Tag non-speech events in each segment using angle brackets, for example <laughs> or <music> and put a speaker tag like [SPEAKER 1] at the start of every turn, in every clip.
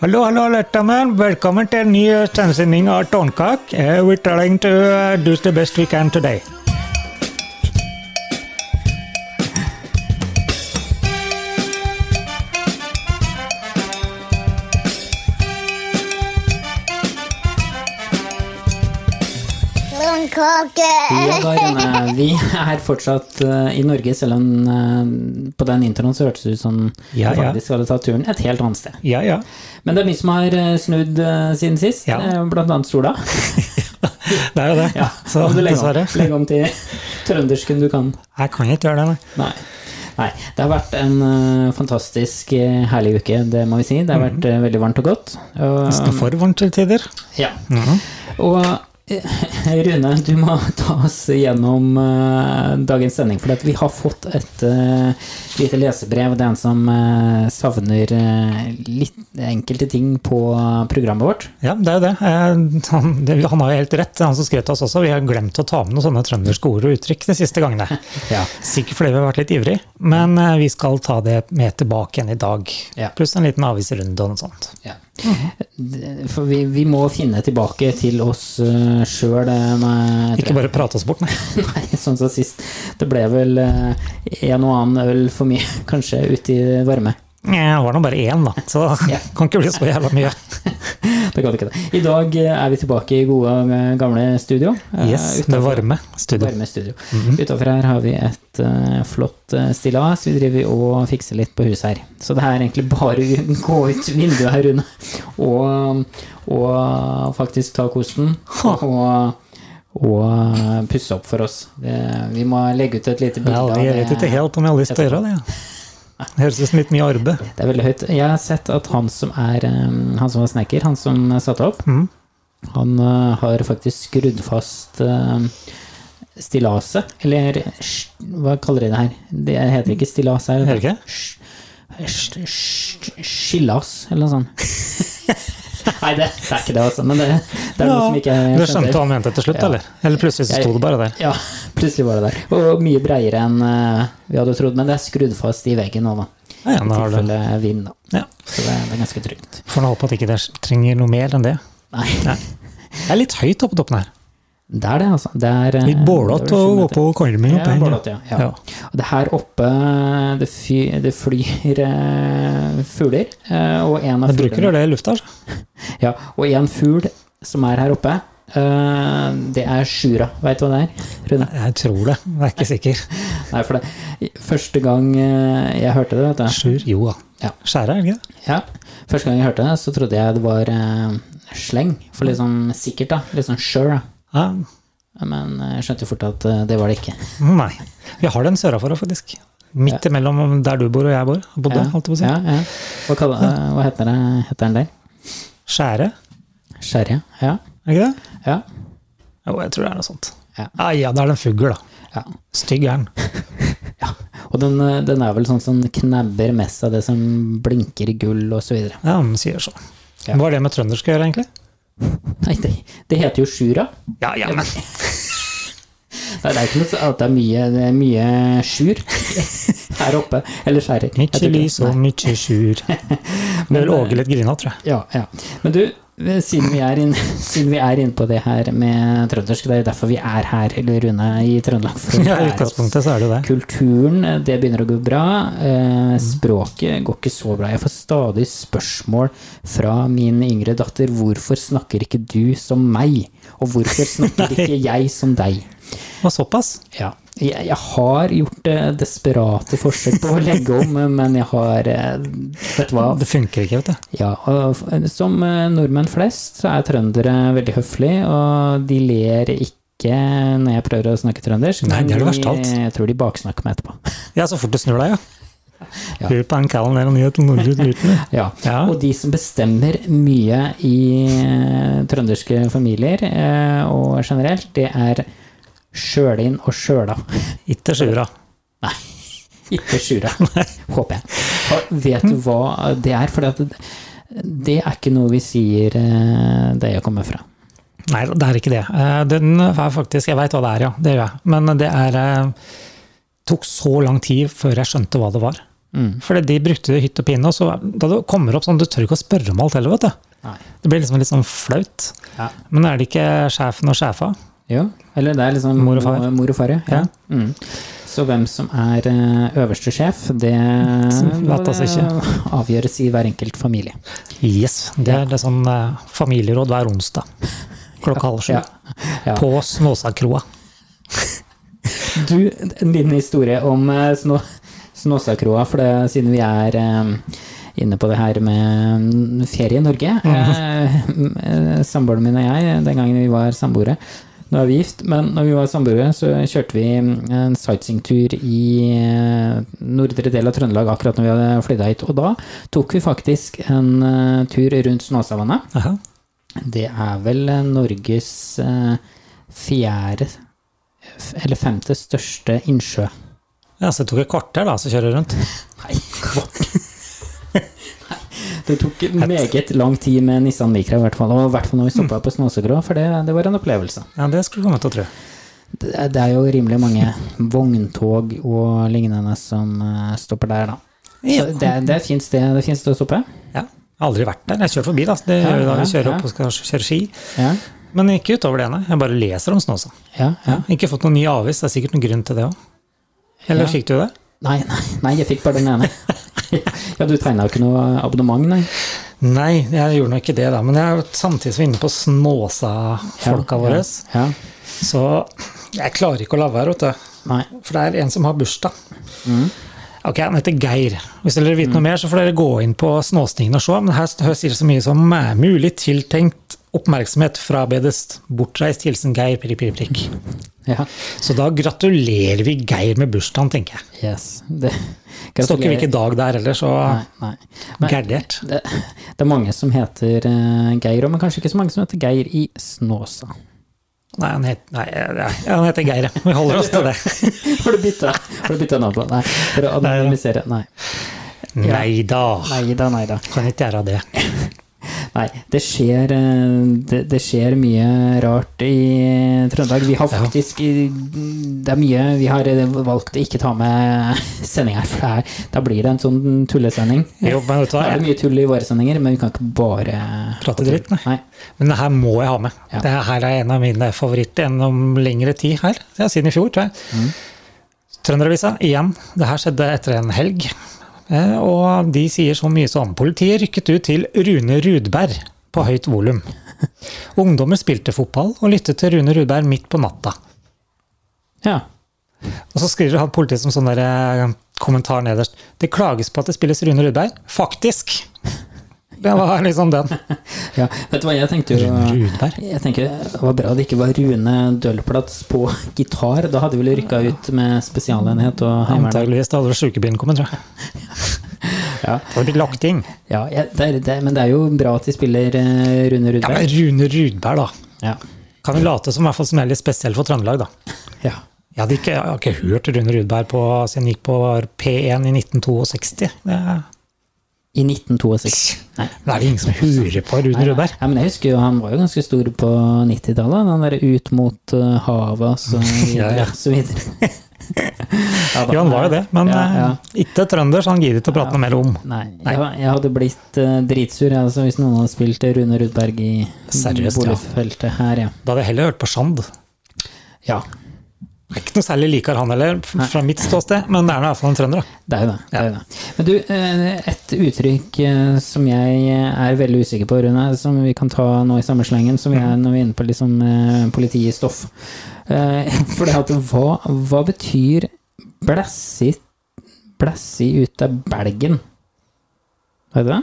[SPEAKER 1] Hello, hello, gentlemen. Welcome to a new sending of Tonkak. Uh, we're trying to uh, do the best we can today.
[SPEAKER 2] Ja,
[SPEAKER 3] Blomkake!
[SPEAKER 2] da,
[SPEAKER 1] <laughs>
[SPEAKER 2] Irene, vi er fortsatt eh, i Norge, selv om eh, på den introen så hørtes det ut som
[SPEAKER 1] Ja,
[SPEAKER 2] vi
[SPEAKER 1] ja.
[SPEAKER 2] faktisk hadde tatt turen et helt annet sted.
[SPEAKER 1] Ja,
[SPEAKER 2] <laughs>
[SPEAKER 1] ja.
[SPEAKER 2] Men det er mye som har eh, snudd eh, siden sist,
[SPEAKER 1] Ja.
[SPEAKER 2] eh, blant
[SPEAKER 1] <laughs>
[SPEAKER 2] annet sola.
[SPEAKER 1] Det er jo det.
[SPEAKER 2] Ja,
[SPEAKER 1] Så
[SPEAKER 2] må du legge <laughs> om,
[SPEAKER 1] dessverre.
[SPEAKER 2] legge om til trøndersken du kan.
[SPEAKER 1] Jeg kan ikke gjøre det, nei.
[SPEAKER 2] Nei. Nei. Det har vært en eh, fantastisk eh, herlig uke, det må vi si. Det har vært eh, veldig varmt og godt. Og,
[SPEAKER 1] Mhm. Nesten for varmt til tider.
[SPEAKER 2] ja.
[SPEAKER 1] Mhm.
[SPEAKER 2] og eh, Rune, du må ta oss gjennom eh, dagens sending, for at vi har fått et eh, lite lesebrev. Det er en som eh, savner eh, litt enkelte ting på programmet vårt.
[SPEAKER 1] Ja, det er jo det. Eh, Han, det. han har jo helt rett, han som skrev til oss også. Vi har glemt å ta med noen sånne trønderske ord og uttrykk de siste gangene.
[SPEAKER 2] <laughs> Ja.
[SPEAKER 1] Sikkert fordi vi har vært litt ivrig, men eh, vi skal ta det med tilbake igjen i dag.
[SPEAKER 2] Ja.
[SPEAKER 1] Pluss en liten avisrunde og noe sånt.
[SPEAKER 2] Ja. D- Mhm. For vi, vi må finne tilbake til oss uh, sjøl.
[SPEAKER 1] Ikke bare prate oss bort, nei.
[SPEAKER 2] Nei, <laughs> sånn som sist. Det ble vel eh, en og annen øl for mye, <laughs> kanskje, ute i varme.
[SPEAKER 1] Eh, Det var nå bare én, da, så
[SPEAKER 2] <laughs> Ja.
[SPEAKER 1] det kan ikke bli så jævla mye.
[SPEAKER 2] Det kan ikke det. I dag eh, er vi tilbake i gode, eh, gamle studio. eh,
[SPEAKER 1] Yes, Mhm. det
[SPEAKER 2] utenfor-
[SPEAKER 1] varme studio.
[SPEAKER 2] Varme studio. Utenfor her har vi et eh, flott eh, stillas. Vi driver og fikser litt på huset her. Så det er egentlig bare å <laughs> gå ut vinduet her, Rune, og, og faktisk ta kosten. Og, og pusse opp for oss. Det, vi må legge ut et lite bilde.
[SPEAKER 1] Ja,
[SPEAKER 2] av
[SPEAKER 1] jeg vet
[SPEAKER 2] det.
[SPEAKER 1] ikke helt om jeg har lyst til å gjøre det. Ja. Det høres ut som litt mye arbeid.
[SPEAKER 2] Det er veldig høyt. Jeg har sett at han som er eh, Han som var snekker, han som satte opp,
[SPEAKER 1] Mhm.
[SPEAKER 2] han eh, har faktisk skrudd fast eh, stillaset, eller sj- hva kaller de det her? Det heter ikke stillas her.
[SPEAKER 1] Gjør det ikke?
[SPEAKER 2] Sj- sj- sj- Skillas, eller noe sånt. <laughs> Nei, det, det er ikke det, altså. Men det, det er noe som ikke
[SPEAKER 1] Du skjønte hva han mente til slutt,
[SPEAKER 2] Ja.
[SPEAKER 1] eller? Eller plutselig så sto det bare der.
[SPEAKER 2] Ja, plutselig var det der. Og mye breiere enn eh, vi hadde trodd. Men det er skrudd fast i veggen nå, da.
[SPEAKER 1] Ja,
[SPEAKER 2] I
[SPEAKER 1] nå har du.
[SPEAKER 2] tilfelle vind, da.
[SPEAKER 1] Ja.
[SPEAKER 2] Så det, det er ganske trygt.
[SPEAKER 1] Får nå håpe at ikke det trenger noe mer enn det.
[SPEAKER 2] Nei,
[SPEAKER 1] Det er litt høyt oppe på toppen her.
[SPEAKER 2] det er det, altså. Det er, eh,
[SPEAKER 1] Litt bålete
[SPEAKER 2] det er
[SPEAKER 1] å
[SPEAKER 2] vel
[SPEAKER 1] gå
[SPEAKER 2] fint,
[SPEAKER 1] på kolmen
[SPEAKER 2] Ja,
[SPEAKER 1] oppe her.
[SPEAKER 2] bålete, ja. ja. Og det her oppe, det, fy, det flyr eh, fugler, eh, og en av
[SPEAKER 1] Jeg bruker
[SPEAKER 2] fuglene
[SPEAKER 1] det i lufta, altså.
[SPEAKER 2] ja, Og en fugl som er her oppe, eh, det er sjura. Veit du hva det er? Rune?
[SPEAKER 1] Jeg tror det, jeg er ikke sikker.
[SPEAKER 2] Nei, for det Første gang eh, jeg hørte det, vet du
[SPEAKER 1] Sjur, jo da.
[SPEAKER 2] Ja.
[SPEAKER 1] Skjære, er det ikke det?
[SPEAKER 2] Ja, Første gang jeg hørte det, så trodde jeg det var eh, sleng. For litt sånn sikkert, da. Litt sånn sure, da.
[SPEAKER 1] Ja.
[SPEAKER 2] Men jeg skjønte jo fort at eh, det var det ikke.
[SPEAKER 1] Nei. Vi har den sørafor òg, faktisk. Midt imellom der du bor og jeg bor. Bodde, holdt jeg på å si.
[SPEAKER 2] Ja, ja. Hva, kaller- eh, hva heter, det, heter den der?
[SPEAKER 1] Skjære,
[SPEAKER 2] Skjære? Ja.
[SPEAKER 1] er det ikke det?
[SPEAKER 2] ja.
[SPEAKER 1] Jo, jeg tror det er noe sånt.
[SPEAKER 2] Ja.
[SPEAKER 1] Ah, ja, det er det en fugl, da.
[SPEAKER 2] ja.
[SPEAKER 1] Stygg er den.
[SPEAKER 2] Og den, eh, den er vel sånn som knabber mest av det som blinker i gull og så videre.
[SPEAKER 1] Ja, men sier så.
[SPEAKER 2] Ja.
[SPEAKER 1] Hva har det med trøndersk å gjøre, egentlig?
[SPEAKER 2] Nei, det, det heter jo sjura.
[SPEAKER 1] Ja, ja, men
[SPEAKER 2] Nei, Det er ikke noe så- at det er mye, det er mye sjur <laughs> her oppe. Eller skjærer. Jeg tror
[SPEAKER 1] Mykje
[SPEAKER 2] ikke det.
[SPEAKER 1] lys og mykje sjur.
[SPEAKER 2] <laughs>
[SPEAKER 1] Det vil Åge litt grina, tror jeg.
[SPEAKER 2] Ja, ja. Men du, eh, siden vi er inn- <laughs> siden vi er inne på det her med trøndersk, det er jo derfor vi er her, eller Rune, i Trøndelag. For å
[SPEAKER 1] Ja, I
[SPEAKER 2] lære oss
[SPEAKER 1] utgangspunktet så er det jo det.
[SPEAKER 2] Kulturen, det begynner å gå bra.
[SPEAKER 1] Mm.
[SPEAKER 2] Eh, språket går ikke så bra. Jeg får stadig spørsmål fra min yngre datter. Hvorfor snakker ikke du som meg? Og hvorfor
[SPEAKER 1] <laughs>
[SPEAKER 2] snakker ikke jeg som deg?
[SPEAKER 1] Og såpass.
[SPEAKER 2] Ja. Jeg, jeg har gjort eh, desperate forsøk på å legge om, eh, men jeg har eh, Vet du hva?
[SPEAKER 1] Det funker ikke, vet du.
[SPEAKER 2] Ja, og f- som eh, nordmenn flest så er trøndere veldig høflige, og de ler ikke når jeg prøver å snakke trøndersk.
[SPEAKER 1] Nei,
[SPEAKER 2] men
[SPEAKER 1] det er det verste av alt.
[SPEAKER 2] de- eh, Jeg tror de baksnakker meg etterpå.
[SPEAKER 1] Ja, så fort du snur deg, ja.
[SPEAKER 2] Ja.
[SPEAKER 1] Lurer på en kallen der nede til Nordluten.
[SPEAKER 2] <laughs> Ja.
[SPEAKER 1] Ja.
[SPEAKER 2] Og de som bestemmer mye i eh, trønderske familier eh, og generelt, det er sjølin og sjøla.
[SPEAKER 1] Ikke sjura.
[SPEAKER 2] <laughs> Ikke
[SPEAKER 1] <laughs>
[SPEAKER 2] sjura, håper jeg. Og vet du hva det er? For det, det er ikke noe vi sier eh, der jeg kommer fra.
[SPEAKER 1] Nei, det er ikke det. Eh, Den er faktisk Jeg veit hva det er, ja. Det gjør jeg. Men det er eh, tok så lang tid før jeg skjønte hva det var.
[SPEAKER 2] Mm.
[SPEAKER 1] For de brukte det hytt og pinne, og så da det kommer opp sånn, du tør ikke å spørre om alt heller, vet du.
[SPEAKER 2] Nei.
[SPEAKER 1] Det blir liksom litt sånn flaut.
[SPEAKER 2] Ja.
[SPEAKER 1] Men er det ikke sjefen og sjefa?
[SPEAKER 2] Jo, eller det er liksom
[SPEAKER 1] Mor og far.
[SPEAKER 2] Mor og far ja.
[SPEAKER 1] Ja.
[SPEAKER 2] Mm. Så hvem som er eh, øverste sjef, det
[SPEAKER 1] Vet oss ikke.
[SPEAKER 2] <laughs> avgjøres i hver enkelt familie.
[SPEAKER 1] Yes. Det er det sånn eh, familieråd hver onsdag klokka halv sju.
[SPEAKER 2] Ja. Ja.
[SPEAKER 1] På Snåsakroa.
[SPEAKER 2] Du, en liten historie om eh, Snå, Snåsakroa, for det, siden vi er eh, inne på det her med mm, ferie i Norge. Eh, m- eh, Samboeren min og jeg, den gangen vi var samboere Nå er vi gift, men når vi var samboere, så kjørte vi mm, en sightseeingtur i eh, nordre del av Trøndelag akkurat når vi hadde flytta hit. Og da tok vi faktisk en eh, tur rundt Snåsavannet.
[SPEAKER 1] Aha.
[SPEAKER 2] Det er vel eh, Norges eh, fjerde f- eller femte største innsjø.
[SPEAKER 1] Ja, så det tok et kvarter da, så kjører jeg rundt.
[SPEAKER 2] Nei, kvart. Det tok meget lang tid med Nissan Micra, i hvert fall. Og i hvert fall når vi stoppa på Snåsegrå, for det, det var en opplevelse.
[SPEAKER 1] Ja, det skulle du komme til å tro.
[SPEAKER 2] Det, er- det er jo rimelig mange vogntog og lignende som eh, stopper der, da. Så det, er- det er fint sted, det er fint sted å stoppe.
[SPEAKER 1] Ja. Jeg har aldri vært der. Jeg kjører forbi, da. Det
[SPEAKER 2] Ja,
[SPEAKER 1] gjør vi da vi
[SPEAKER 2] ja,
[SPEAKER 1] kjører
[SPEAKER 2] ja.
[SPEAKER 1] opp og skal kjøre ski.
[SPEAKER 2] Ja,
[SPEAKER 1] Men ikke utover det, nei. Jeg bare leser om Snåsa.
[SPEAKER 2] ja, ja.
[SPEAKER 1] Ikke fått noen ny avis, det er sikkert noen grunn til det òg. Eller
[SPEAKER 2] Ja.
[SPEAKER 1] fikk du det?
[SPEAKER 2] Nei, nei, nei, jeg fikk bare den ene. Ja, du tegna jo ikke noe abonnement, nei?
[SPEAKER 1] Nei, jeg gjorde nok ikke det, da. Men jeg er jo samtidig som inne på Snåsa-folka
[SPEAKER 2] ja,
[SPEAKER 1] våre.
[SPEAKER 2] Ja,
[SPEAKER 1] Så jeg klarer ikke å la være, vet du.
[SPEAKER 2] nei.
[SPEAKER 1] For det er en som har bursdag. Ok, Han heter Geir. Hvis dere vil vite noe mer, så får dere gå inn på Snåsningen og se. Men her, her sier det så mye som eh, 'mulig tiltenkt oppmerksomhet frabedes'. Bortreist hilsen Geir. Prikk, prikk, prikk.
[SPEAKER 2] Ja,
[SPEAKER 1] Så da gratulerer vi Geir med bursdagen, tenker jeg.
[SPEAKER 2] yes. Det
[SPEAKER 1] Det står ikke hvilken dag det er heller, så
[SPEAKER 2] Nei, nei. Men-
[SPEAKER 1] gardert.
[SPEAKER 2] Det, det er mange som heter eh, Geir, og men kanskje ikke så mange som heter Geir i Snåsa.
[SPEAKER 1] Nei, han het- nei, ja, han heter Geir, ja. Vi holder oss til det.
[SPEAKER 2] Har du bytta har du bytta navn på? Nei, for å
[SPEAKER 1] Neida.
[SPEAKER 2] anonymisere. Nei.
[SPEAKER 1] Nei da,
[SPEAKER 2] Nei da, nei da.
[SPEAKER 1] kan ikke gjøre det.
[SPEAKER 2] Nei, det skjer, eh, det, det skjer mye rart i Trøndelag. Vi har
[SPEAKER 1] Ja.
[SPEAKER 2] faktisk i- Det er mye vi har eh, valgt å ikke ta med sending her, for det er, da blir det en sånn tullesending.
[SPEAKER 1] Jo, men vet du
[SPEAKER 2] Da
[SPEAKER 1] hva?
[SPEAKER 2] er det mye tull i våre sendinger, men vi kan ikke bare
[SPEAKER 1] Prate dritt, nei.
[SPEAKER 2] nei.
[SPEAKER 1] Men det her må jeg ha med.
[SPEAKER 2] Ja.
[SPEAKER 1] Det her er en av mine favoritter gjennom lengre tid her, ja, siden i fjor, tror jeg. Trønderavisa, igjen. Det her skjedde etter en helg. Eh, Og de sier så mye som politiet rykket ut til Rune Rudberg på høyt volum. <laughs> Ungdommer spilte fotball og lyttet til Rune Rudberg midt på natta.
[SPEAKER 2] Ja.
[SPEAKER 1] Og så skriver han politiet som sånn der eh, kommentar nederst. Det klages på at det spilles Rune Rudberg. Faktisk! <laughs> Det var liksom den.
[SPEAKER 2] ja. Vet du hva, jeg tenkte jo
[SPEAKER 1] Rudberg?
[SPEAKER 2] Jeg tenker Det var bra det ikke var Rune Dølplats på gitar. Da hadde vi vel rykka ut med spesialenhet og heimevern.
[SPEAKER 1] Antakeligvis det hadde sjukebilen kommet, tror jeg.
[SPEAKER 2] <laughs> Ja.
[SPEAKER 1] Det hadde blitt lagt inn.
[SPEAKER 2] Ja, jeg- det er, det, men det er jo bra at de spiller eh, Rune
[SPEAKER 1] Ja, men
[SPEAKER 2] Rudberg.
[SPEAKER 1] Rune Rudberg, da.
[SPEAKER 2] Ja.
[SPEAKER 1] Kan vi late som i hvert fall som er litt spesiell for Trøndelag, da.
[SPEAKER 2] ja.
[SPEAKER 1] Jeg, hadde ikke, jeg har ikke hørt Rune Rudberg på, siden han gikk på P1 i 1962. Det,
[SPEAKER 2] I 1962. Nei.
[SPEAKER 1] da er det ingen som hører på Rune Rudberg.
[SPEAKER 2] Ja, men jeg husker jo han var jo ganske stor på 90-tallet. Han der ut mot eh, havet og så
[SPEAKER 1] <laughs> Ja,
[SPEAKER 2] videre.
[SPEAKER 1] ja.
[SPEAKER 2] og så videre. Ja, da.
[SPEAKER 1] Jo, han var jo det, men
[SPEAKER 2] Ja, ja.
[SPEAKER 1] eh, ikke trønder, så han gidder ikke å prate noe mer om.
[SPEAKER 2] Nei, jeg, jeg hadde blitt eh, dritsur jeg, altså, hvis noen hadde spilt Rune Rudberg i
[SPEAKER 1] Seriøst, ja.
[SPEAKER 2] boligfeltet her, ja.
[SPEAKER 1] Da hadde jeg heller hørt på Sjand.
[SPEAKER 2] ja.
[SPEAKER 1] Jeg er Ikke noe særlig likere han heller, f- fra mitt ståsted, men det er nå i hvert fall en trønder. da.
[SPEAKER 2] Det er jo det. det, er jo det. Men du, eh, et uttrykk eh, som jeg eh, er veldig usikker på, Rune, som vi kan ta nå i samme slengen, som vi er
[SPEAKER 1] Mm.
[SPEAKER 2] når vi er inne på liksom, eh, politiet i stoff. Eh, <laughs> For det at hva, hva betyr blæssi Blæssi ut av belgen? Vet du det?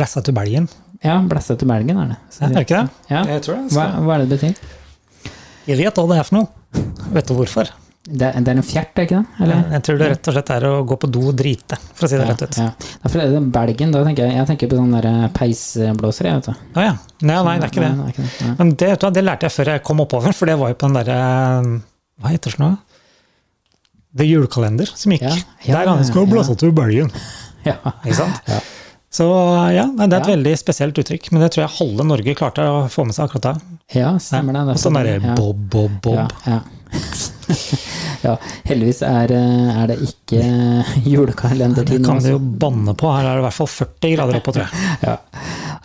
[SPEAKER 1] Blæssa til Belgien.
[SPEAKER 2] Ja, blæssi ut av belgen er det.
[SPEAKER 1] Ja, er det ikke det?
[SPEAKER 2] Ja.
[SPEAKER 1] Jeg tror det. sånn.
[SPEAKER 2] Hva, hva er det det betyr?
[SPEAKER 1] Jeg vet hva det er for noe. Vet du hvorfor?
[SPEAKER 2] Det, er- det er en fjert, er det ikke det? Eller?
[SPEAKER 1] Jeg tror det rett og slett er å gå på do og drite, for å si det rett ut.
[SPEAKER 2] Ja, ja. Ja, for det er den belgen, da tenker jeg, jeg tenker på sånne der peisblåsere, jeg vet du.
[SPEAKER 1] Å ja. Nei, nei, det er ikke det.
[SPEAKER 2] Nei, det er ikke det. Nei.
[SPEAKER 1] Men det, vet du hva, det lærte jeg før jeg kom oppover, for det var jo på den derre eh, Hva heter det for noe? The julekalender som gikk.
[SPEAKER 2] Ja, ja,
[SPEAKER 1] Der han skal
[SPEAKER 2] ja.
[SPEAKER 1] blåse til bølgen.
[SPEAKER 2] Ja.
[SPEAKER 1] Ikke sant?
[SPEAKER 2] Ja.
[SPEAKER 1] Så eh, ja, nei, det er et
[SPEAKER 2] Ja.
[SPEAKER 1] veldig spesielt uttrykk, men det tror jeg halve Norge klarte å få med seg akkurat da.
[SPEAKER 2] Ja, stemmer det. det er
[SPEAKER 1] Og sånn
[SPEAKER 2] sant.
[SPEAKER 1] derre
[SPEAKER 2] Ja. <laughs>
[SPEAKER 1] bob, bob, bob.
[SPEAKER 2] Ja, ja. Ja, heldigvis er, eh, er det ikke <laughs>
[SPEAKER 1] Det
[SPEAKER 2] julekalendertid nå.
[SPEAKER 1] kan du
[SPEAKER 2] så-
[SPEAKER 1] jo banne på. Her er det i hvert fall 40 grader oppå, tror jeg.
[SPEAKER 2] Ja.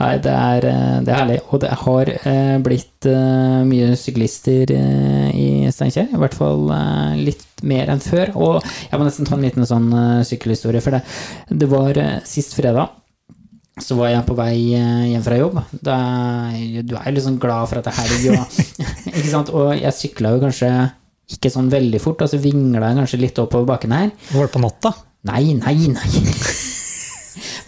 [SPEAKER 2] Nei, det er, eh, det er herlig. Og det har eh, blitt eh, mye syklister eh, i Steinkjer. I hvert fall eh, litt mer enn før. Og jeg må nesten ta en liten sånn eh, sykkelhistorie, for det, det var eh, sist fredag. Så var jeg på vei eh, hjem fra jobb. Da, du er jo litt sånn glad for at det er helg. Og, <laughs> ikke sant? og jeg sykla jo kanskje ikke sånn veldig fort, altså vingla jeg kanskje litt oppover bakken her.
[SPEAKER 1] Var det på natta?
[SPEAKER 2] Nei, nei, nei.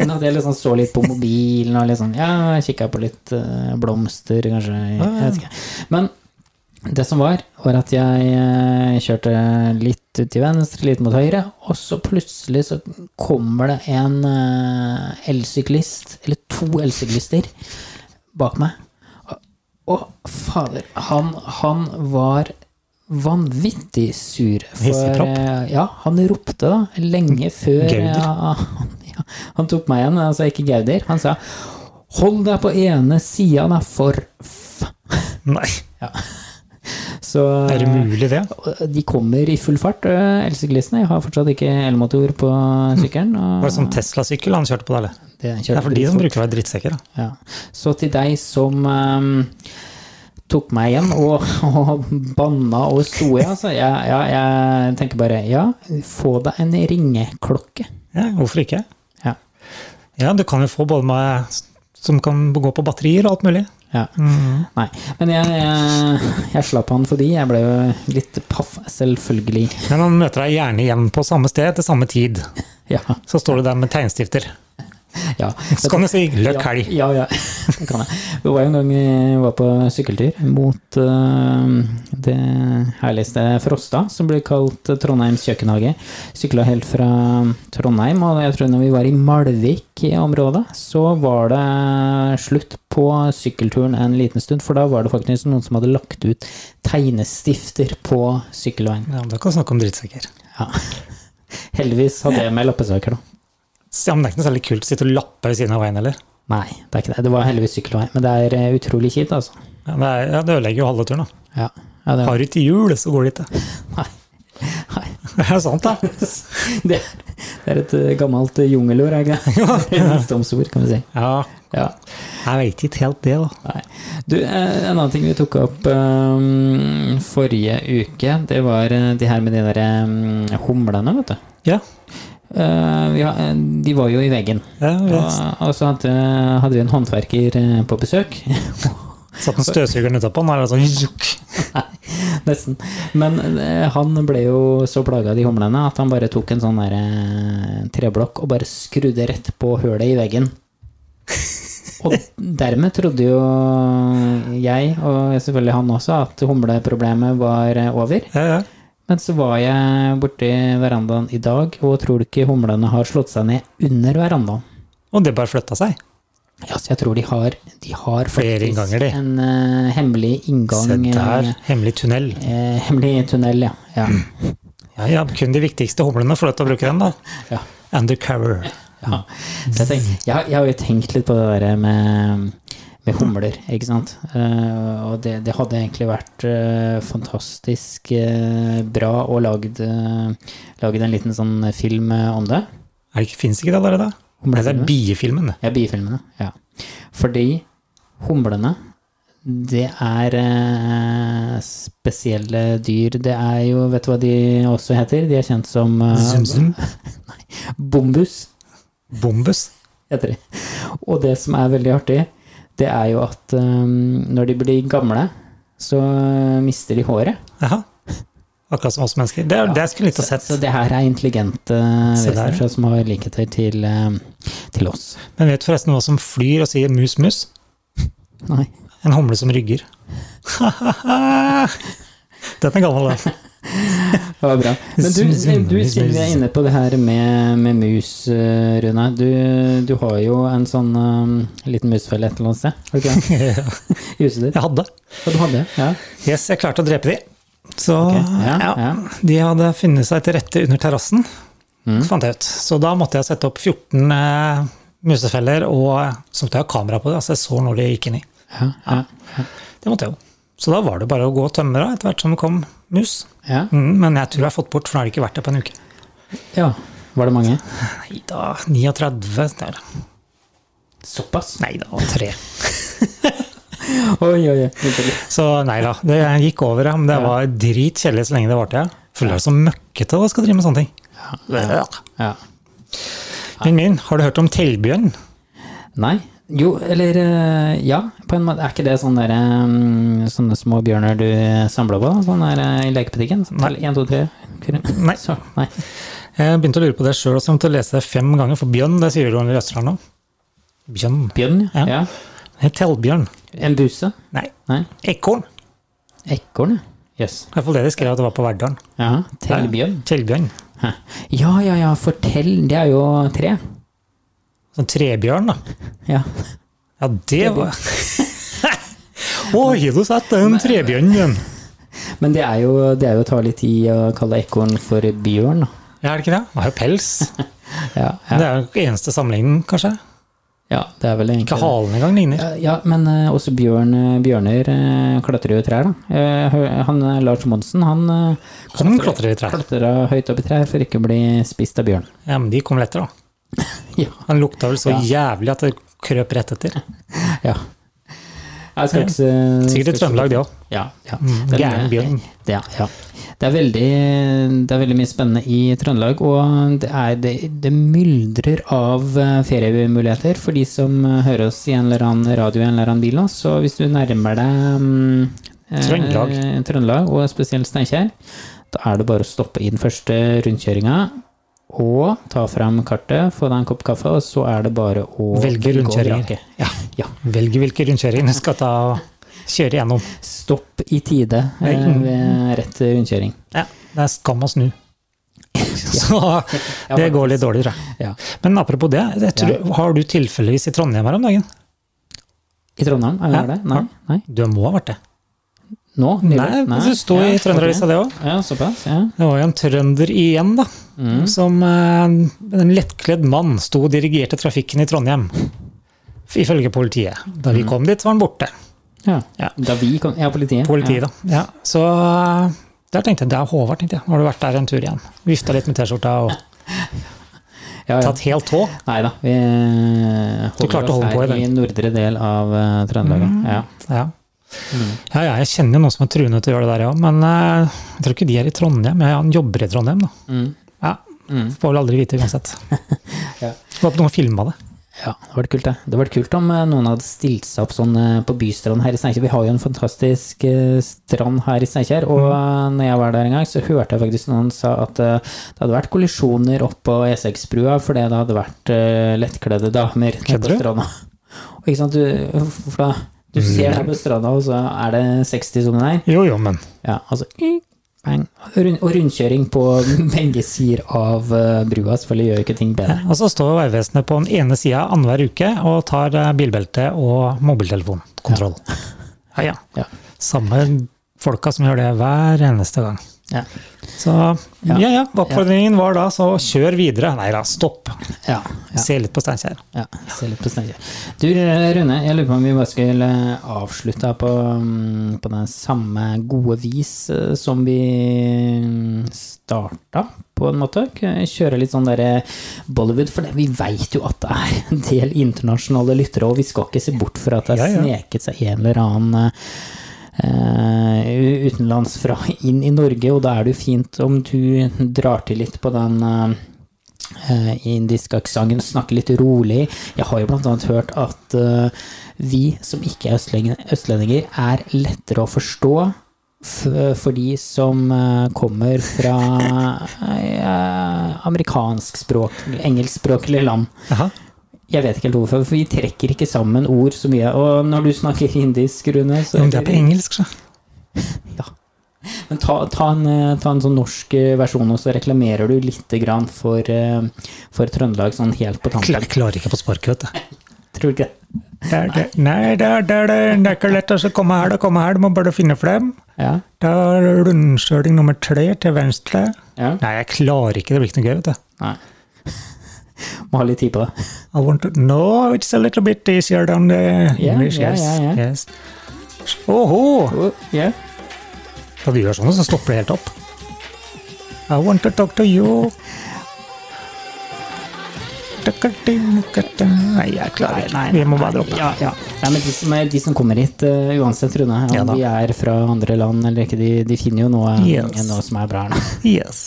[SPEAKER 2] Men at jeg liksom så litt på mobilen og liksom, ja, kikka på litt eh, blomster, kanskje. Jeg vet ikke. Men det som var, var at jeg eh, kjørte litt ut til venstre, litt mot høyre, og så plutselig så kommer det en eh, elsyklist, eller to elsyklister, bak meg. Å, fader. Han, han var vanvittig sur.
[SPEAKER 1] Hissig propp.
[SPEAKER 2] eh, ja, han ropte da, lenge før
[SPEAKER 1] Gauder.
[SPEAKER 2] Ja, han, ja, han tok meg igjen, altså ikke Gauder. Han sa 'hold deg på ene sida, da, for f'.
[SPEAKER 1] Nei,
[SPEAKER 2] Så eh,
[SPEAKER 1] er det mulig det?
[SPEAKER 2] de kommer i full fart, eh, elsyklistene. Jeg har fortsatt ikke elmotor på sykkelen.
[SPEAKER 1] Var det
[SPEAKER 2] Og
[SPEAKER 1] sånn Tesla-sykkel han kjørte på, da? eller?
[SPEAKER 2] det
[SPEAKER 1] Det er for de som
[SPEAKER 2] bruker
[SPEAKER 1] bruker å være drittsekker. da.
[SPEAKER 2] Ja. Så til deg som ehm, tok meg igjen og, og banna og sto i, altså. Jeg, ja, jeg tenker bare ja, få deg en ringeklokke.
[SPEAKER 1] Ja, hvorfor ikke?
[SPEAKER 2] Ja.
[SPEAKER 1] Ja, du kan jo få både med som kan gå på batterier og alt mulig.
[SPEAKER 2] ja. Nei. Men jeg, jeg, jeg slapp han fordi jeg ble jo litt paff, selvfølgelig. <laughs>
[SPEAKER 1] Men han møter deg gjerne igjen på samme sted til samme tid.
[SPEAKER 2] Ja.
[SPEAKER 1] Så står du der med tegnstifter.
[SPEAKER 2] ja.
[SPEAKER 1] Så kan du <laughs> si 'løkk helg'.
[SPEAKER 2] Ja, ja, <laughs> ja. det kan jeg. Det var jo en gang jeg var på sykkeltur mot eh, det herligste Frosta, som blir kalt Trondheims kjøkkenhage. Sykla helt fra Trondheim, og jeg tror når vi var i Malvik i området, så var det slutt på sykkelturen en liten stund, for da var det faktisk noen som hadde lagt ut tegnestifter på sykkelveien.
[SPEAKER 1] Ja, men da kan du snakke om drittsekker.
[SPEAKER 2] Ja. <laughs> Heldigvis hadde jeg med lappesaker, da.
[SPEAKER 1] Ja, men det er ikke noe særlig kult å sitte og lappe ved siden av veien heller.
[SPEAKER 2] Nei, det er ikke det. Det var heldigvis sykkelvei, men det er eh, utrolig kjipt, altså.
[SPEAKER 1] Ja, det, er, ja, det ødelegger jo halve turen. da.
[SPEAKER 2] Ja, ja det,
[SPEAKER 1] Har du til jul, så går det ikke.
[SPEAKER 2] Nei. Nei.
[SPEAKER 1] <laughs> Det er sant, da.
[SPEAKER 2] Det, det er et eh, gammelt eh, jungelord, er
[SPEAKER 1] <laughs>
[SPEAKER 2] det ikke det? Visdomsord, kan vi si.
[SPEAKER 1] Ja,
[SPEAKER 2] Ja.
[SPEAKER 1] jeg veit ikke helt det, da.
[SPEAKER 2] Nei. Du, eh, en annen ting vi tok opp eh, forrige uke, det var eh, de her med de der eh, humlene, vet du.
[SPEAKER 1] Ja,
[SPEAKER 2] Eh, vi har- eh, de var jo i veggen.
[SPEAKER 1] ja
[SPEAKER 2] Og,
[SPEAKER 1] vi
[SPEAKER 2] og så hadde, hadde vi en håndverker eh, på besøk.
[SPEAKER 1] satt en støvsuger utapå, og da er det sånn juk.
[SPEAKER 2] Nesten. Men eh, han ble jo så plaga av de humlene at han bare tok en sånn der, eh, treblokk og bare skrudde rett på hølet i
[SPEAKER 1] <laughs>
[SPEAKER 2] veggen. Og dermed trodde jo jeg, og selvfølgelig han også, at humleproblemet var eh, over.
[SPEAKER 1] Ja, ja.
[SPEAKER 2] Men så var jeg borti verandaen i dag, og tror du ikke humlene har slått seg ned under verandaen?
[SPEAKER 1] Og det bare flytta seg.
[SPEAKER 2] Ja, så jeg tror de har, de har
[SPEAKER 1] Flere
[SPEAKER 2] faktisk
[SPEAKER 1] innganger, de.
[SPEAKER 2] en eh, hemmelig inngang.
[SPEAKER 1] Se der,
[SPEAKER 2] eh,
[SPEAKER 1] hemmelig tunnel.
[SPEAKER 2] Eh, hemmelig tunnel, ja. ja.
[SPEAKER 1] <clears throat> Ja, ja, kun de viktigste humlene får lov til å bruke den, da.
[SPEAKER 2] ja.
[SPEAKER 1] Undercover.
[SPEAKER 2] Ja. Så jeg, tenk, jeg, jeg har jo tenkt litt på det der med, med humler, ikke sant. Eh, og det, det hadde egentlig vært eh, fantastisk eh, bra å lagd eh, lagd en liten sånn film eh, om det.
[SPEAKER 1] Er det ikke, finnes ikke det allerede? Nei, det er
[SPEAKER 2] Humlefilmer?
[SPEAKER 1] biefilmen. det.
[SPEAKER 2] Ja, bifilmene. Ja. Fordi humlene, det er eh, spesielle dyr. Det er jo, vet du hva de også heter? De er kjent som eh,
[SPEAKER 1] Zum-zum.
[SPEAKER 2] bombus.
[SPEAKER 1] Bombus.
[SPEAKER 2] heter de. Og det som er veldig artig, det er jo at øhm, når de blir gamle, så øh, mister de håret.
[SPEAKER 1] Jaha. Akkurat som oss mennesker. Det, er- det skulle jeg likt å sett.
[SPEAKER 2] Så det her er intelligente
[SPEAKER 1] Se der,
[SPEAKER 2] vesener
[SPEAKER 1] ja.
[SPEAKER 2] som har likheter til, øhm, til oss.
[SPEAKER 1] Men vet du forresten hva som flyr og sier mus, mus?
[SPEAKER 2] Nei.
[SPEAKER 1] En humle som
[SPEAKER 2] <laughs>
[SPEAKER 1] rygger. <laughs> Den er gammel, den.
[SPEAKER 2] Det var bra. Men du, eh, du siden vi er inne på det her med, med mus, øh, Rune. Du, du har jo en sånn øhm, liten musfelle et eller annet sted. Har du ikke det? <laughs>
[SPEAKER 1] Jeg
[SPEAKER 2] I huset ditt?
[SPEAKER 1] hadde.
[SPEAKER 2] Ja, du hadde det? Ja.
[SPEAKER 1] Yes, jeg klarte å drepe de. Så
[SPEAKER 2] ja,
[SPEAKER 1] ja,
[SPEAKER 2] ja.
[SPEAKER 1] De hadde funnet seg til rette under terrassen, fant jeg ut. Så da måtte jeg sette opp 14 eh, musefeller, og så måtte jeg ha kamera på det. Altså jeg så når de gikk inn i.
[SPEAKER 2] ja, ja.
[SPEAKER 1] Det måtte jeg jo. Så da var det bare å gå og tømme da, etter hvert som det kom mus.
[SPEAKER 2] Ja.
[SPEAKER 1] Mm, men jeg tror jeg har fått bort, for nå har det ikke vært der på en uke.
[SPEAKER 2] ja. Var det mange?
[SPEAKER 1] Nei da, 39 der.
[SPEAKER 2] Såpass?
[SPEAKER 1] Nei da, og tre.
[SPEAKER 2] Oi, oi, oi.
[SPEAKER 1] Så nei da, det gikk over, ja, men det
[SPEAKER 2] Ja.
[SPEAKER 1] var dritkjedelig så lenge det varte. Ja. Føler deg så møkkete og skal drive med sånne ting.
[SPEAKER 2] Ja.
[SPEAKER 1] Men min, har du hørt om tellbjørn?
[SPEAKER 2] Nei. Jo, eller eh, ja, på en måte. Er ikke det sånne, der, mm, sånne små bjørner du samler på? da? Sånn der eh, i lekebutikken? Sånn,
[SPEAKER 1] Nei.
[SPEAKER 2] tell- En, to, tre, fire.
[SPEAKER 1] Nei.
[SPEAKER 2] Så, nei.
[SPEAKER 1] Jeg begynte å lure på det sjøl, og så måtte jeg lese det fem ganger, for bjørn, det sier du under Østland nå. Bjørn.
[SPEAKER 2] Bjørn, ja.
[SPEAKER 1] Ja.
[SPEAKER 2] ja.
[SPEAKER 1] Nei, Tellbjørn.
[SPEAKER 2] En buse?
[SPEAKER 1] Nei,
[SPEAKER 2] Nei.
[SPEAKER 1] ekorn. Det
[SPEAKER 2] Ekorn, ja. Jøss.
[SPEAKER 1] er i hvert fall det de skrev at det var på Verdalen.
[SPEAKER 2] Ja, Tellbjørn.
[SPEAKER 1] Tellbjørn.
[SPEAKER 2] Hæ. Ja, ja, ja, fortell. Det er jo tre.
[SPEAKER 1] Sånn trebjørn, da.
[SPEAKER 2] Ja. <laughs>
[SPEAKER 1] Ja, det <laughs> var Oi, har du sett den trebjørnen igjen?
[SPEAKER 2] Men det er jo, det er jo å ta litt i å kalle ekorn for bjørn. da.
[SPEAKER 1] Ja, er det ikke det? Han har jo pels.
[SPEAKER 2] Ja, ja.
[SPEAKER 1] Det er jo den eneste sammenligningen, kanskje.
[SPEAKER 2] ja, det er vel egentlig
[SPEAKER 1] Ikke halen engang ligner.
[SPEAKER 2] Ja, ja, men eh, også bjørn, bjørner eh, klatrer jo i trær, da. Eh, hø- han eh, Lars Monsen, han eh,
[SPEAKER 1] Han klatrer i trær.
[SPEAKER 2] klatra høyt opp i trær for ikke å bli spist av bjørn.
[SPEAKER 1] Ja, men de kom lettere, da.
[SPEAKER 2] Ja.
[SPEAKER 1] Han lukta vel så jævlig at det krøp rett etter.
[SPEAKER 2] Ja. Jeg skal ikke se-
[SPEAKER 1] Sikkert i
[SPEAKER 2] skal ikke se-
[SPEAKER 1] Trøndelag, det Mm, òg.
[SPEAKER 2] Ja. ja. Den, eh,
[SPEAKER 1] Gæren bjørn.
[SPEAKER 2] Det, er- ja. Det, er veldig, det er veldig mye spennende i Trøndelag, og det, er, det, det myldrer av eh, feriemuligheter for de som eh, hører oss i en eller annen radio i en eller annen bil nå. Så hvis du nærmer deg mm, eh,
[SPEAKER 1] Trøndelag.
[SPEAKER 2] Trøndelag, og spesielt Steinkjer, da er det bare å stoppe i den første rundkjøringa. Og ta fram kartet, få deg en kopp kaffe, og så er det bare å
[SPEAKER 1] Velge
[SPEAKER 2] og
[SPEAKER 1] rundkjøringer.
[SPEAKER 2] vrake. Ja, ja.
[SPEAKER 1] Velg hvilke rundkjøringer du skal ta og kjøre gjennom.
[SPEAKER 2] Stopp i tide eh,
[SPEAKER 1] Nei.
[SPEAKER 2] ved rett rundkjøring.
[SPEAKER 1] Ja, det er skam å snu. <laughs> Så det går litt dårlig, tror jeg.
[SPEAKER 2] Ja.
[SPEAKER 1] Men apropos det, jeg tror, har du tilfeldigvis i Trondheim her om dagen?
[SPEAKER 2] I Trondheim? Er
[SPEAKER 1] Ja.
[SPEAKER 2] det det? Nei? Nei?
[SPEAKER 1] Du må ha vært det.
[SPEAKER 2] Nå?
[SPEAKER 1] Nei, altså, det sto i Trønderavisa det òg.
[SPEAKER 2] ok. Ja, såpass. Ja.
[SPEAKER 1] Det var jo en trønder igjen, da. Som eh, en lettkledd mann sto og dirigerte trafikken i Trondheim. Ifølge politiet. Da vi kom dit, så var han borte.
[SPEAKER 2] Ja.
[SPEAKER 1] Ja.
[SPEAKER 2] Da vi kom Ja, politiet.
[SPEAKER 1] Politiet, da. Ja, så eh, der tenkte jeg, det er Håvard, tenkte jeg. Nå har du vært der en tur igjen. Vifta litt med T-skjorta og
[SPEAKER 2] Ja, ja.
[SPEAKER 1] tatt helt tå.
[SPEAKER 2] Nei da. Vi eh,
[SPEAKER 1] Du klarte
[SPEAKER 2] holder
[SPEAKER 1] å
[SPEAKER 2] oss
[SPEAKER 1] holde på Mm. i
[SPEAKER 2] her
[SPEAKER 1] den.
[SPEAKER 2] i nordre del av eh, Trøndelag. Ja.
[SPEAKER 1] Ja.
[SPEAKER 2] Mm.
[SPEAKER 1] Ja, ja, jeg kjenner jo noen som er truende til å gjøre det der, ja. Men eh, jeg tror ikke de er i Trondheim. Ja, han jobber i Trondheim, da.
[SPEAKER 2] Mm.
[SPEAKER 1] Ja,
[SPEAKER 2] Mm.
[SPEAKER 1] Får vel aldri vite uansett.
[SPEAKER 2] <laughs> Ja.
[SPEAKER 1] Det var på noen filma det.
[SPEAKER 2] Ja, det hadde vært kult, det. Det hadde vært kult om eh, noen hadde stilt seg opp sånn eh, på bystranden her i Steinkjer. Vi har jo en fantastisk eh, strand her i Steinkjer,
[SPEAKER 1] Mhm.
[SPEAKER 2] og eh, når jeg var der en gang, så hørte jeg faktisk noen sa at eh, det hadde vært kollisjoner opp på E6-brua fordi det hadde vært eh, lettkledde damer nede
[SPEAKER 1] Kødder du? Mm.
[SPEAKER 2] på stranda. <laughs> Og ikke sant, du, for da, du ser deg på stranda, og så er det 60 som deg.
[SPEAKER 1] Jo, jo, men
[SPEAKER 2] Ja, altså bang. Rund, Og rundkjøring på begge sider av eh, brua selvfølgelig gjør jo ikke ting bedre.
[SPEAKER 1] Og så står Vegvesenet på den ene sida annenhver uke og tar eh, bilbelte og mobiltelefonkontroll. Ja, ja.
[SPEAKER 2] Ja.
[SPEAKER 1] Samme folka som gjør det hver eneste gang.
[SPEAKER 2] Ja.
[SPEAKER 1] Så ja, ja. Oppfordringen var da så kjør videre. Nei da, stopp.
[SPEAKER 2] Ja, ja.
[SPEAKER 1] Se litt på Steinkjer.
[SPEAKER 2] Ja, se litt på Steinkjer. Du Rune, jeg lurer på om vi bare skal eh, avslutte her på, mm, på den samme gode vis eh, som vi mm, starta, på en måte. K- Kjøre litt sånn derre Bollywood, for det, vi veit jo at det er en del internasjonale lyttere, og vi skal ikke se bort fra at det har
[SPEAKER 1] Ja, ja.
[SPEAKER 2] sneket seg en eller annen eh, eh, u- utenlands fra inn i Norge, og da er det jo fint om du drar til litt på den eh, indiske aksenten, snakker litt rolig. Jeg har jo blant annet hørt at eh, vi som ikke er østlending- østlendinger, er lettere å forstå f- for de som eh, kommer fra eh, amerikansk språk, engelskspråklige land.
[SPEAKER 1] Jaha.
[SPEAKER 2] Jeg vet ikke helt hvorfor, for vi trekker ikke sammen ord så mye. Og når du snakker indisk, Rune så
[SPEAKER 1] Jo, men det er på engelsk, så.
[SPEAKER 2] Men ta, ta, en, eh, ta en sånn norsk eh, versjon, og så reklamerer du litt grann for, eh, for Trøndelag sånn helt på tampen.
[SPEAKER 1] Klar, klarer ikke på sparket, vet du.
[SPEAKER 2] Tror du ikke det?
[SPEAKER 1] Der, der, nei, der, der, der, det er ikke lett å så komme her, da, komme her, du må bare finne frem.
[SPEAKER 2] Ja.
[SPEAKER 1] Da er rundkjøring nummer tre til venstre.
[SPEAKER 2] ja.
[SPEAKER 1] Nei, jeg klarer ikke, det blir ikke noe gøy, vet du.
[SPEAKER 2] Nei. Må ha litt tid på det.
[SPEAKER 1] I want to No, it's a little bit easier than the
[SPEAKER 2] Yeah,
[SPEAKER 1] English.
[SPEAKER 2] yeah,
[SPEAKER 1] yes.
[SPEAKER 2] yeah, yeah.
[SPEAKER 1] yes. Oho!
[SPEAKER 2] Oh, yeah.
[SPEAKER 1] Når du gjør sånn, så stopper det helt opp. I want to talk to you. Nei, jeg klarer ikke. Vi må bare droppe.
[SPEAKER 2] Ja, ja. Nei, men de som, er, de som kommer hit, eh, uansett, Rune, om
[SPEAKER 1] Ja da.
[SPEAKER 2] de er fra andre land eller ikke, de, de finner jo noe,
[SPEAKER 1] Yes.
[SPEAKER 2] noe som er bra. her nå.
[SPEAKER 1] Yes.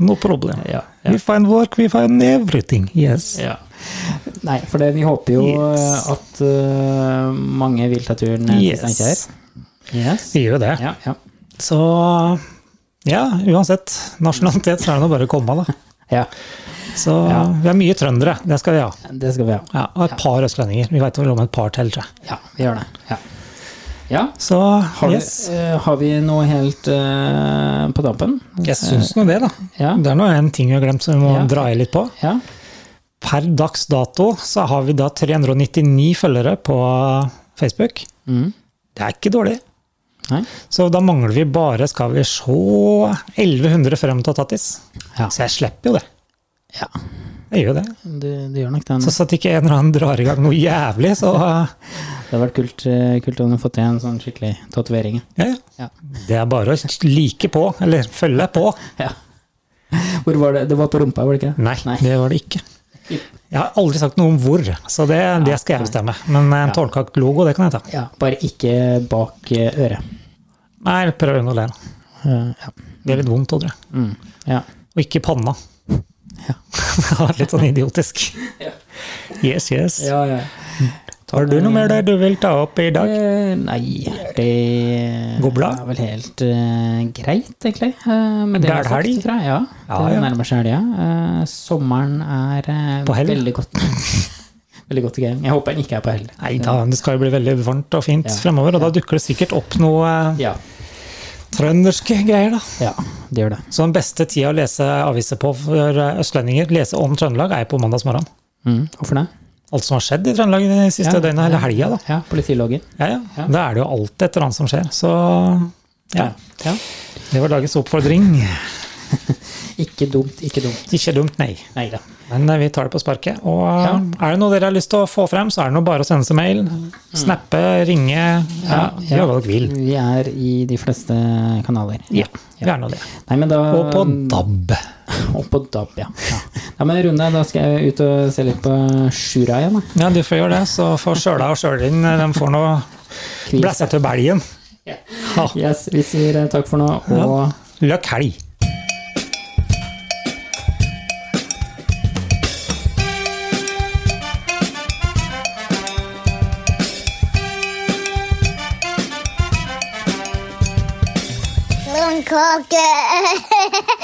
[SPEAKER 1] No problem.
[SPEAKER 2] Ja,
[SPEAKER 1] We find work, we find everything. Yes.
[SPEAKER 2] ja. Nei, for det, vi håper jo eh,
[SPEAKER 1] Yes.
[SPEAKER 2] at eh, mange vil ta turen eh, til Steinkjer.
[SPEAKER 1] yes.
[SPEAKER 2] Yes.
[SPEAKER 1] Vi gjør jo det.
[SPEAKER 2] Ja, ja.
[SPEAKER 1] Så ja, uansett nasjonalitet, så er det nå bare å komme, da.
[SPEAKER 2] ja.
[SPEAKER 1] Så
[SPEAKER 2] Ja.
[SPEAKER 1] vi er mye trøndere, det skal vi ha.
[SPEAKER 2] Det skal vi ha.
[SPEAKER 1] Ja, og et par østlendinger. Vi veit vel om et par til, tror jeg.
[SPEAKER 2] Ja, vi gjør det. Ja. ja.
[SPEAKER 1] Så
[SPEAKER 2] Har,
[SPEAKER 1] yes.
[SPEAKER 2] vi, eh, har vi noe helt eh, på dampen?
[SPEAKER 1] Jeg syns nå det, da.
[SPEAKER 2] Ja.
[SPEAKER 1] Det er nå en ting vi har glemt som vi må
[SPEAKER 2] Ja.
[SPEAKER 1] dra i litt på.
[SPEAKER 2] Ja.
[SPEAKER 1] Per dags dato så har vi da 399 følgere på Facebook.
[SPEAKER 2] Mm.
[SPEAKER 1] Det er ikke dårlig.
[SPEAKER 2] Nei.
[SPEAKER 1] Så da mangler vi bare, skal vi se, 1100 frem til Tattis.
[SPEAKER 2] Ja.
[SPEAKER 1] Så jeg slipper jo det.
[SPEAKER 2] ja.
[SPEAKER 1] Jeg gjør jo det.
[SPEAKER 2] Du, du gjør nok den.
[SPEAKER 1] Så satt ikke en eller annen drar i gang noe jævlig, så
[SPEAKER 2] <laughs>
[SPEAKER 1] eh,
[SPEAKER 2] Det hadde vært kult, eh, kult om du fått til en sånn skikkelig tatovering.
[SPEAKER 1] ja, ja.
[SPEAKER 2] Ja.
[SPEAKER 1] Det er bare å like på, eller følge på.
[SPEAKER 2] Ja. Hvor var det? Det var på rumpa, var det ikke?
[SPEAKER 1] Nei,
[SPEAKER 2] Nei.
[SPEAKER 1] det var det ikke. Jeg har aldri sagt noe om hvor, så det, det skal jeg bestemme. Men en tårnkakk-logo, det kan jeg ta.
[SPEAKER 2] Ja, bare ikke bak eh, øret.
[SPEAKER 1] Nei, prøv å unngå det. da.
[SPEAKER 2] Eh, ja.
[SPEAKER 1] Det er litt vondt, tror jeg.
[SPEAKER 2] Mm. ja.
[SPEAKER 1] Og ikke i panna.
[SPEAKER 2] Ja.
[SPEAKER 1] <laughs> det var litt sånn idiotisk.
[SPEAKER 2] Ja.
[SPEAKER 1] Yes, yes.
[SPEAKER 2] ja, ja.
[SPEAKER 1] Har du noe mer der du vil ta opp i dag?
[SPEAKER 2] Eh, Nei, det
[SPEAKER 1] Går bra?
[SPEAKER 2] er vel helt eh, greit, egentlig. Eh, men det
[SPEAKER 1] Det er
[SPEAKER 2] er helg.
[SPEAKER 1] helg.
[SPEAKER 2] Fra, ja,
[SPEAKER 1] Ja,
[SPEAKER 2] det
[SPEAKER 1] ja.
[SPEAKER 2] nærmer seg helga. Eh, sommeren er eh,
[SPEAKER 1] På hell?
[SPEAKER 2] veldig godt. <laughs> veldig godt i gang. Jeg håper den ikke er på hell.
[SPEAKER 1] Nei da, det skal jo bli veldig varmt og fint
[SPEAKER 2] Ja.
[SPEAKER 1] fremover, og da dukker det sikkert opp noe eh,
[SPEAKER 2] Ja,
[SPEAKER 1] trønderske greier, da.
[SPEAKER 2] ja, det gjør det.
[SPEAKER 1] Så den beste tida å lese aviser på for eh, østlendinger, lese om Trøndelag, er på mandagsmorgen.
[SPEAKER 2] Mm. Hvorfor det?
[SPEAKER 1] Alt som har skjedd i Trøndelag de siste
[SPEAKER 2] Ja,
[SPEAKER 1] døgna, eller helga, da.
[SPEAKER 2] Ja, politiloggen.
[SPEAKER 1] Ja, ja.
[SPEAKER 2] Ja.
[SPEAKER 1] Da er det jo alltid et eller annet som skjer. Så ja,
[SPEAKER 2] ja.
[SPEAKER 1] det var dagens oppfordring.
[SPEAKER 2] Ikke dumt, ikke dumt.
[SPEAKER 1] Ikke dumt, nei.
[SPEAKER 2] Nei da.
[SPEAKER 1] Men eh, vi tar det på sparket. Og eh, er det noe dere har lyst til å få frem, så er det nå bare å sende seg mail. Snappe, ringe. Mm. Ja,
[SPEAKER 2] ja.
[SPEAKER 1] gjør hva dere vil.
[SPEAKER 2] Vi er i de fleste kanaler.
[SPEAKER 1] Ja, vi er nå det. Um,
[SPEAKER 2] Nei, men da,
[SPEAKER 1] Og på DAB.
[SPEAKER 2] Og på DAB, ja. ja. Nei, men Rune, da skal jeg ut og se litt på Sjura igjen. da.
[SPEAKER 1] Ja, du får gjøre det. Så får søla og sjølin, de får nå
[SPEAKER 2] Kvis.
[SPEAKER 1] blæsse til belgen.
[SPEAKER 2] Ja.
[SPEAKER 1] Ha,
[SPEAKER 2] Yes, vi sier eh, takk for nå, og
[SPEAKER 1] Ja. Løkk helg!
[SPEAKER 3] Blomkake!